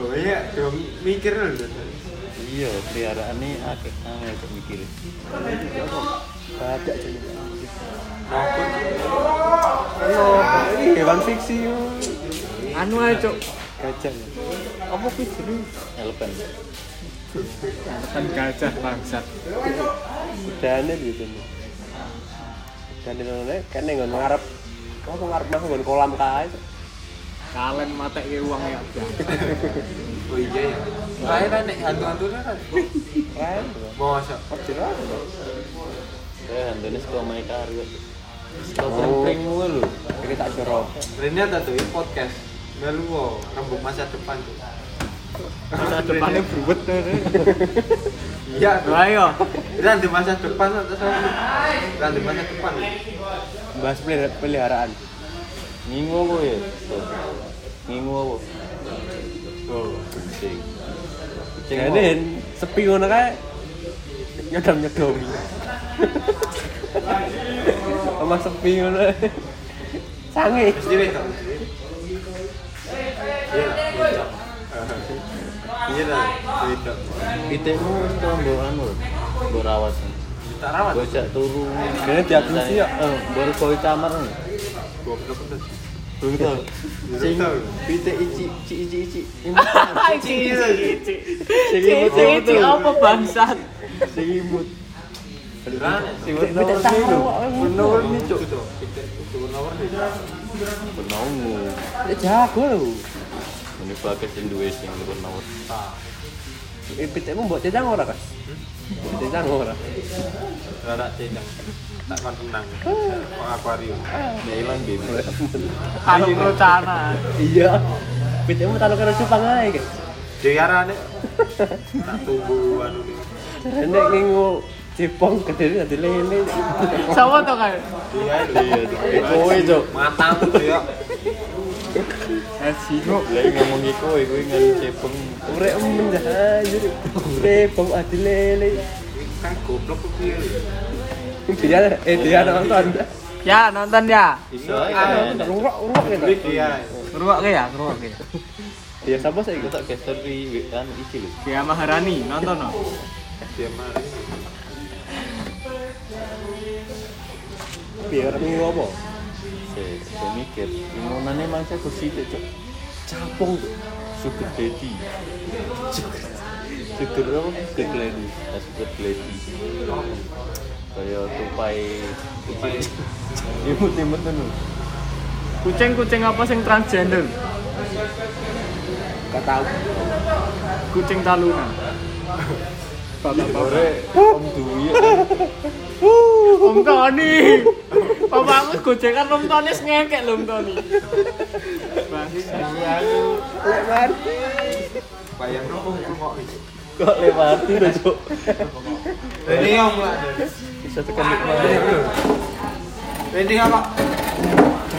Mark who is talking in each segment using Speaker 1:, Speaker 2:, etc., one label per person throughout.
Speaker 1: Oh iya, yo mikir lho. Dad.
Speaker 2: iya peliharaan ini akeh angel kok mikir
Speaker 3: Badak jadi.
Speaker 1: Mabuk.
Speaker 3: Ono, ini hewan fiksi. yo.
Speaker 4: Anu ae, Cuk.
Speaker 3: Gajah.
Speaker 2: ya.
Speaker 3: yo. Apa kuwi jeneng?
Speaker 2: elepen
Speaker 4: Kan gajah bangsat.
Speaker 3: Udane lho jenenge. Udane lho kene nggon ngarep. Kok ngarep nang nggon kolam kae. Cuk.
Speaker 4: Kalen matek ke uang ya.
Speaker 1: Oh iya ya. Kae kan nek hantu-hantune kan.
Speaker 3: Keren. yo.
Speaker 1: Masa
Speaker 3: Ojo lah. yo.
Speaker 2: saya hantunya suka main karyo suka pring-pring mulu
Speaker 3: Iki tak jero.
Speaker 1: Rene ta tuh ya, podcast. Melu wo, rembuk masa depan tuh.
Speaker 4: Masa depannya berubut
Speaker 1: Iya, tuh.
Speaker 4: Ayo.
Speaker 1: Kita di masa depan atau sama? Kita di masa depan.
Speaker 3: Bahas pelihara- peliharaan.
Speaker 2: ngingu aku ya Tuh. ngingu aku
Speaker 1: Oh.
Speaker 2: kucing kucing
Speaker 3: Kene
Speaker 2: mau-
Speaker 3: sepi ngono kae. Nyedom-nyedomi. Omah sepi ngono. Sange.
Speaker 1: Sendiri tuh. Iya, iya. Iya lah, itu.
Speaker 2: pitikmu itu mbok anu mbok rawat
Speaker 1: Kita rawat.
Speaker 2: mbok jak turu
Speaker 3: Kene diakusi ya.
Speaker 2: Eh, mbok gawe camar
Speaker 1: Goblok tuh.
Speaker 2: betul sing
Speaker 1: Betul.
Speaker 2: pitik ici ici ici ici
Speaker 4: Cici, cici. Cici, cici apa bangsat?
Speaker 3: Sing imut.
Speaker 1: Beneran.
Speaker 3: Sing warna warni lho. Warna warni cuk.
Speaker 1: Itu tuh. Itu warna warni.
Speaker 2: benongu
Speaker 3: Ini Jago lho.
Speaker 2: ini pakai sing duwe sing benongu
Speaker 1: Tah.
Speaker 3: Eh, Pitikmu mbok cecang ora, Kas? Mbok cecang ora.
Speaker 1: Rara cendang. Tak kan tenang. Pengakuarium.
Speaker 2: nek ilang bebe
Speaker 4: Kalau rencana.
Speaker 3: Iya. Pitikmu taruh karo cupang ae, Guys.
Speaker 1: Diara nih. Tak tunggu anu nih.
Speaker 3: Rene ngingu cipong gede dadi lele.
Speaker 4: Sama tuh kan.
Speaker 1: Iya, iya.
Speaker 2: Eh, kowe cok
Speaker 1: Matamu tuh ya.
Speaker 4: Eh, singok.
Speaker 2: lagi ngomong iku iku ngan cepeng
Speaker 3: Urek menjahai. Cipong adi lele.
Speaker 1: Ini kan goblok tuh dia.
Speaker 3: Dia eh dia nonton.
Speaker 4: Ya, nonton ya.
Speaker 3: Ah,
Speaker 2: soalnya kan
Speaker 3: Rungok rungok
Speaker 1: Ini
Speaker 3: gitu.
Speaker 1: dia.
Speaker 4: Ngeruak ya, ngeruak ya.
Speaker 3: Dia sapa sih
Speaker 2: aku
Speaker 3: gitu.
Speaker 2: tak kan? geser di WA anu iki lho
Speaker 4: Dia Maharani, nonton no.
Speaker 1: Dia mari.
Speaker 3: Biar ngingu apa?
Speaker 2: saya saya mikir ngomongannya mangsa kursi itu cok
Speaker 3: Capung.
Speaker 2: sugar daddy
Speaker 3: Sugar apa? Sugar lele.
Speaker 2: Eh, sugar daddy kaya tupai
Speaker 3: Imut imut tuh.
Speaker 4: Kucing-kucing apa sing transgender?
Speaker 3: Gak tau.
Speaker 4: Kucing talungan.
Speaker 2: ore om duwi om
Speaker 4: Uh. Om Tony. Bapakku gojekan Om Tony ngekek lho Om Tony.
Speaker 3: Lek mati.
Speaker 1: Bayang dong kok ini.
Speaker 2: kok lewati lho cok
Speaker 1: Ini om lah.
Speaker 3: Bisa tekan nikmat.
Speaker 1: Ini apa?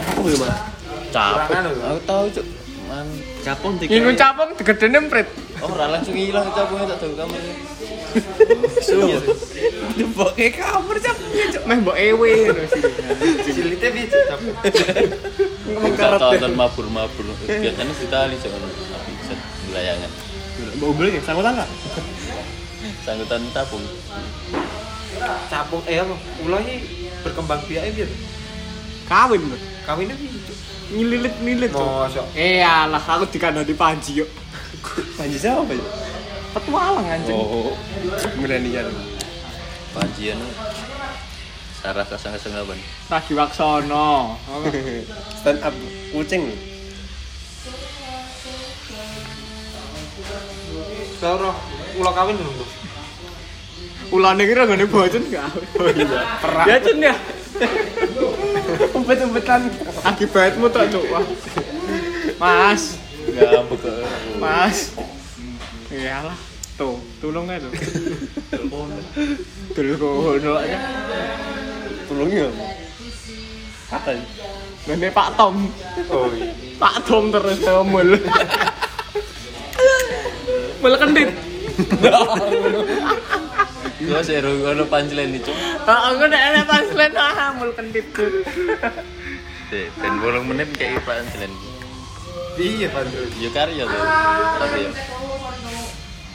Speaker 3: Aku belum mas.
Speaker 2: capek
Speaker 1: Kurangan lho.
Speaker 2: aku tau cok man capung tiga
Speaker 4: Ingin capung digedene emprit.
Speaker 2: oh ora langsung hilang capungnya tak tahu kamu
Speaker 3: Sudah.
Speaker 4: Deboke kamar capungnya cuk. Meh mbok ewe ngono sih.
Speaker 1: Silitnya dia tetap.
Speaker 2: Gak tonton mabur-mabur Biasanya di tali cok Tapi set layangan
Speaker 3: Mau beli sanggutan nggak?
Speaker 2: Sanggutan tabung
Speaker 1: Capung eh apa? Ulahnya berkembang biaknya biar.
Speaker 4: Kawin lho.
Speaker 1: Kami ini gitu.
Speaker 4: Ngililit-ngililit cuk.
Speaker 1: Mosok.
Speaker 4: Eh alah aku dikandani panji yuk.
Speaker 3: Panji siapa Pak?
Speaker 4: Petualang anjing.
Speaker 3: Oh, milenial.
Speaker 2: Panjian Sarah kasang kasang delapan
Speaker 4: Ragi Waksono.
Speaker 3: Stand up kucing.
Speaker 1: Sauro. Ulah kawin belum tuh.
Speaker 4: Ulane kira ngene bocen gak. Oh iya. Ya cen ya.
Speaker 3: Umpet-umpetan.
Speaker 4: Akibatmu tok cuk. Wah. Mas.
Speaker 2: Gak ambek kok.
Speaker 4: Mas. Iyalah. Tuh, tulung aja tuh. Tulung kono aja.
Speaker 1: iya.
Speaker 3: Tulungnya. Kata.
Speaker 4: Ini Pak Tom.
Speaker 1: Oh iya.
Speaker 4: Pak Tom terus saya mul. Mul kendit.
Speaker 2: Gue seru ono panjilan nih cuk
Speaker 4: Oh, Aku udah ada paslen ah mul kendit.
Speaker 2: Dek, Ben bolong menit kayak panjilan
Speaker 1: Iya, Pandro.
Speaker 2: Ya karya tuh. Tapi ya.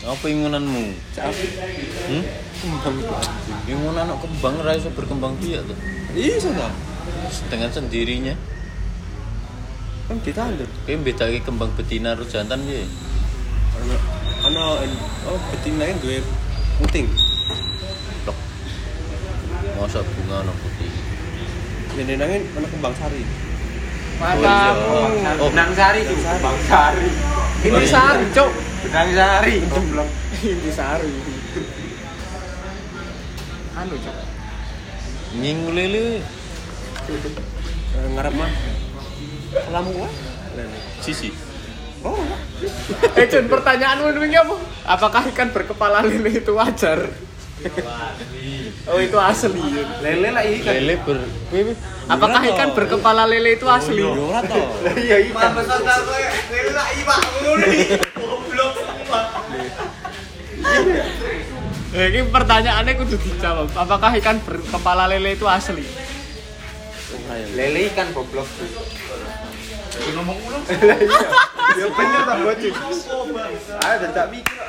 Speaker 2: Apa ingunanmu? Hmm?
Speaker 1: Kembang.
Speaker 2: Ingunan anak kembang ra iso berkembang biak tuh.
Speaker 1: Iya, ta.
Speaker 2: Dengan sendirinya.
Speaker 1: Kan ditandur.
Speaker 2: Kayak bedake kembang betina karo jantan ya. piye?
Speaker 1: Ana oh betinanya duwe puting.
Speaker 2: Blok. Masa bunga ono putih.
Speaker 1: Jadi nangin ana kembang sari.
Speaker 4: Ah,
Speaker 2: Oh.
Speaker 1: Oh, benang sari tuh. Kembang sari.
Speaker 4: Ini sari, cok.
Speaker 1: Benang sari. Jemblong.
Speaker 4: Ini sari. Anu, cok.
Speaker 2: Nying lele.
Speaker 3: Eh,
Speaker 1: Ngarep mah.
Speaker 4: Kolam gua.
Speaker 2: Sisi.
Speaker 1: Oh,
Speaker 4: Eh, Cun, pertanyaanmu ini apa? Apakah ikan berkepala lele itu wajar? Oh, itu asli. Yun.
Speaker 1: lele lah iya.
Speaker 2: Lele ber piye?
Speaker 4: Apakah ikan berkepala lele itu asli?
Speaker 2: Ora to.
Speaker 1: Iya, iya.
Speaker 4: Eh, Ini pertanyaannya kudu dijawab. Apakah ikan berkepala lele itu asli?
Speaker 1: Lele ikan goblok. ngomong ulang. Ya bener tak bocil. Ayo dan tak mikir.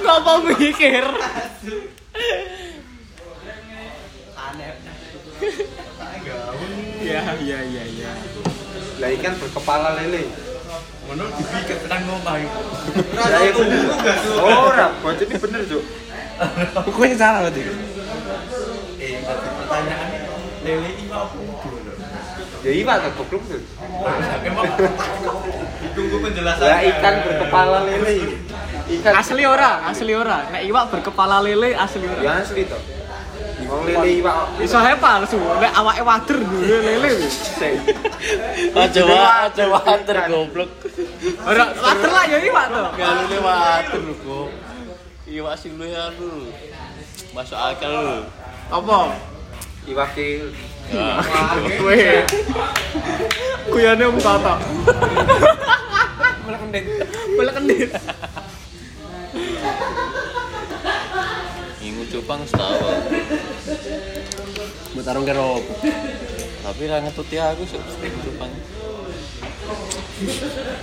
Speaker 4: Gak mau mikir. Ya, ya, ya, ya.
Speaker 1: Lah ikan berkepala lele. iya, Ora, bocil ini bener, Cuk.
Speaker 3: Pokoknya Oh, salah berarti.
Speaker 1: Ya iya tak goblok, Cuk. Lah ikan berkepala lele. Ikan
Speaker 4: Asli ora, asli ora. Nek iwak berkepala lele asli
Speaker 1: Ya
Speaker 4: ora.
Speaker 1: asli to. Wong lele iwak.
Speaker 4: Iso ae palsu. Nek awake wader dhewe lele.
Speaker 2: Aja wae, aja water goblok.
Speaker 4: Ora wader lah ya iwak to.
Speaker 2: Galune water lho, Iya, Go. Iwak sing luwe anu. Masuk akal lho.
Speaker 4: Apa?
Speaker 1: Iwak kecil.
Speaker 2: Ya.
Speaker 4: Weh. Kuyane om tata. Malah kendit.
Speaker 2: Ingu cupang setawa.
Speaker 3: Buat tarung karo opo?
Speaker 2: Tapi ra ngetuti aku sik ingu cupang.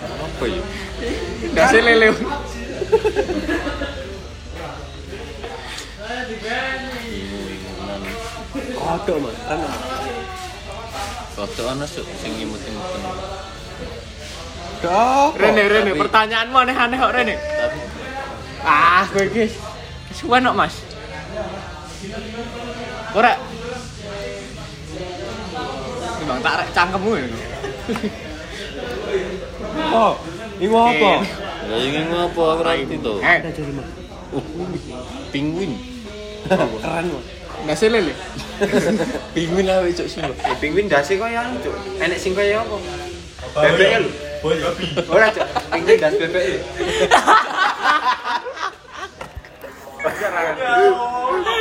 Speaker 2: Apa ya?
Speaker 4: Dasi lele.
Speaker 2: Ingu ingunan.
Speaker 3: Kodok, Mas. Kan
Speaker 2: Waktu ana sik sing imut-imutan.
Speaker 3: kodok.
Speaker 4: Rene Rene pertanyaanmu aneh-aneh kok Rene.
Speaker 2: Tapi
Speaker 4: Ah, kowe iki. Suwen kok, Mas. Ora. Ini Bang tak rek cangkemmu ya.
Speaker 3: Apa? Ini apa?
Speaker 2: ya ingin apa aku ra ngerti to.
Speaker 4: Eh,
Speaker 2: Uh, Penguin.
Speaker 3: Keren, Mas.
Speaker 4: dasi lele.
Speaker 2: Penguin lah weh, cuk sumpah.
Speaker 1: Ya penguin dasi kaya anu, Cuk. Enek sing kaya apa? Bebek lho. Ora, Cuk. Penguin das bebek lho.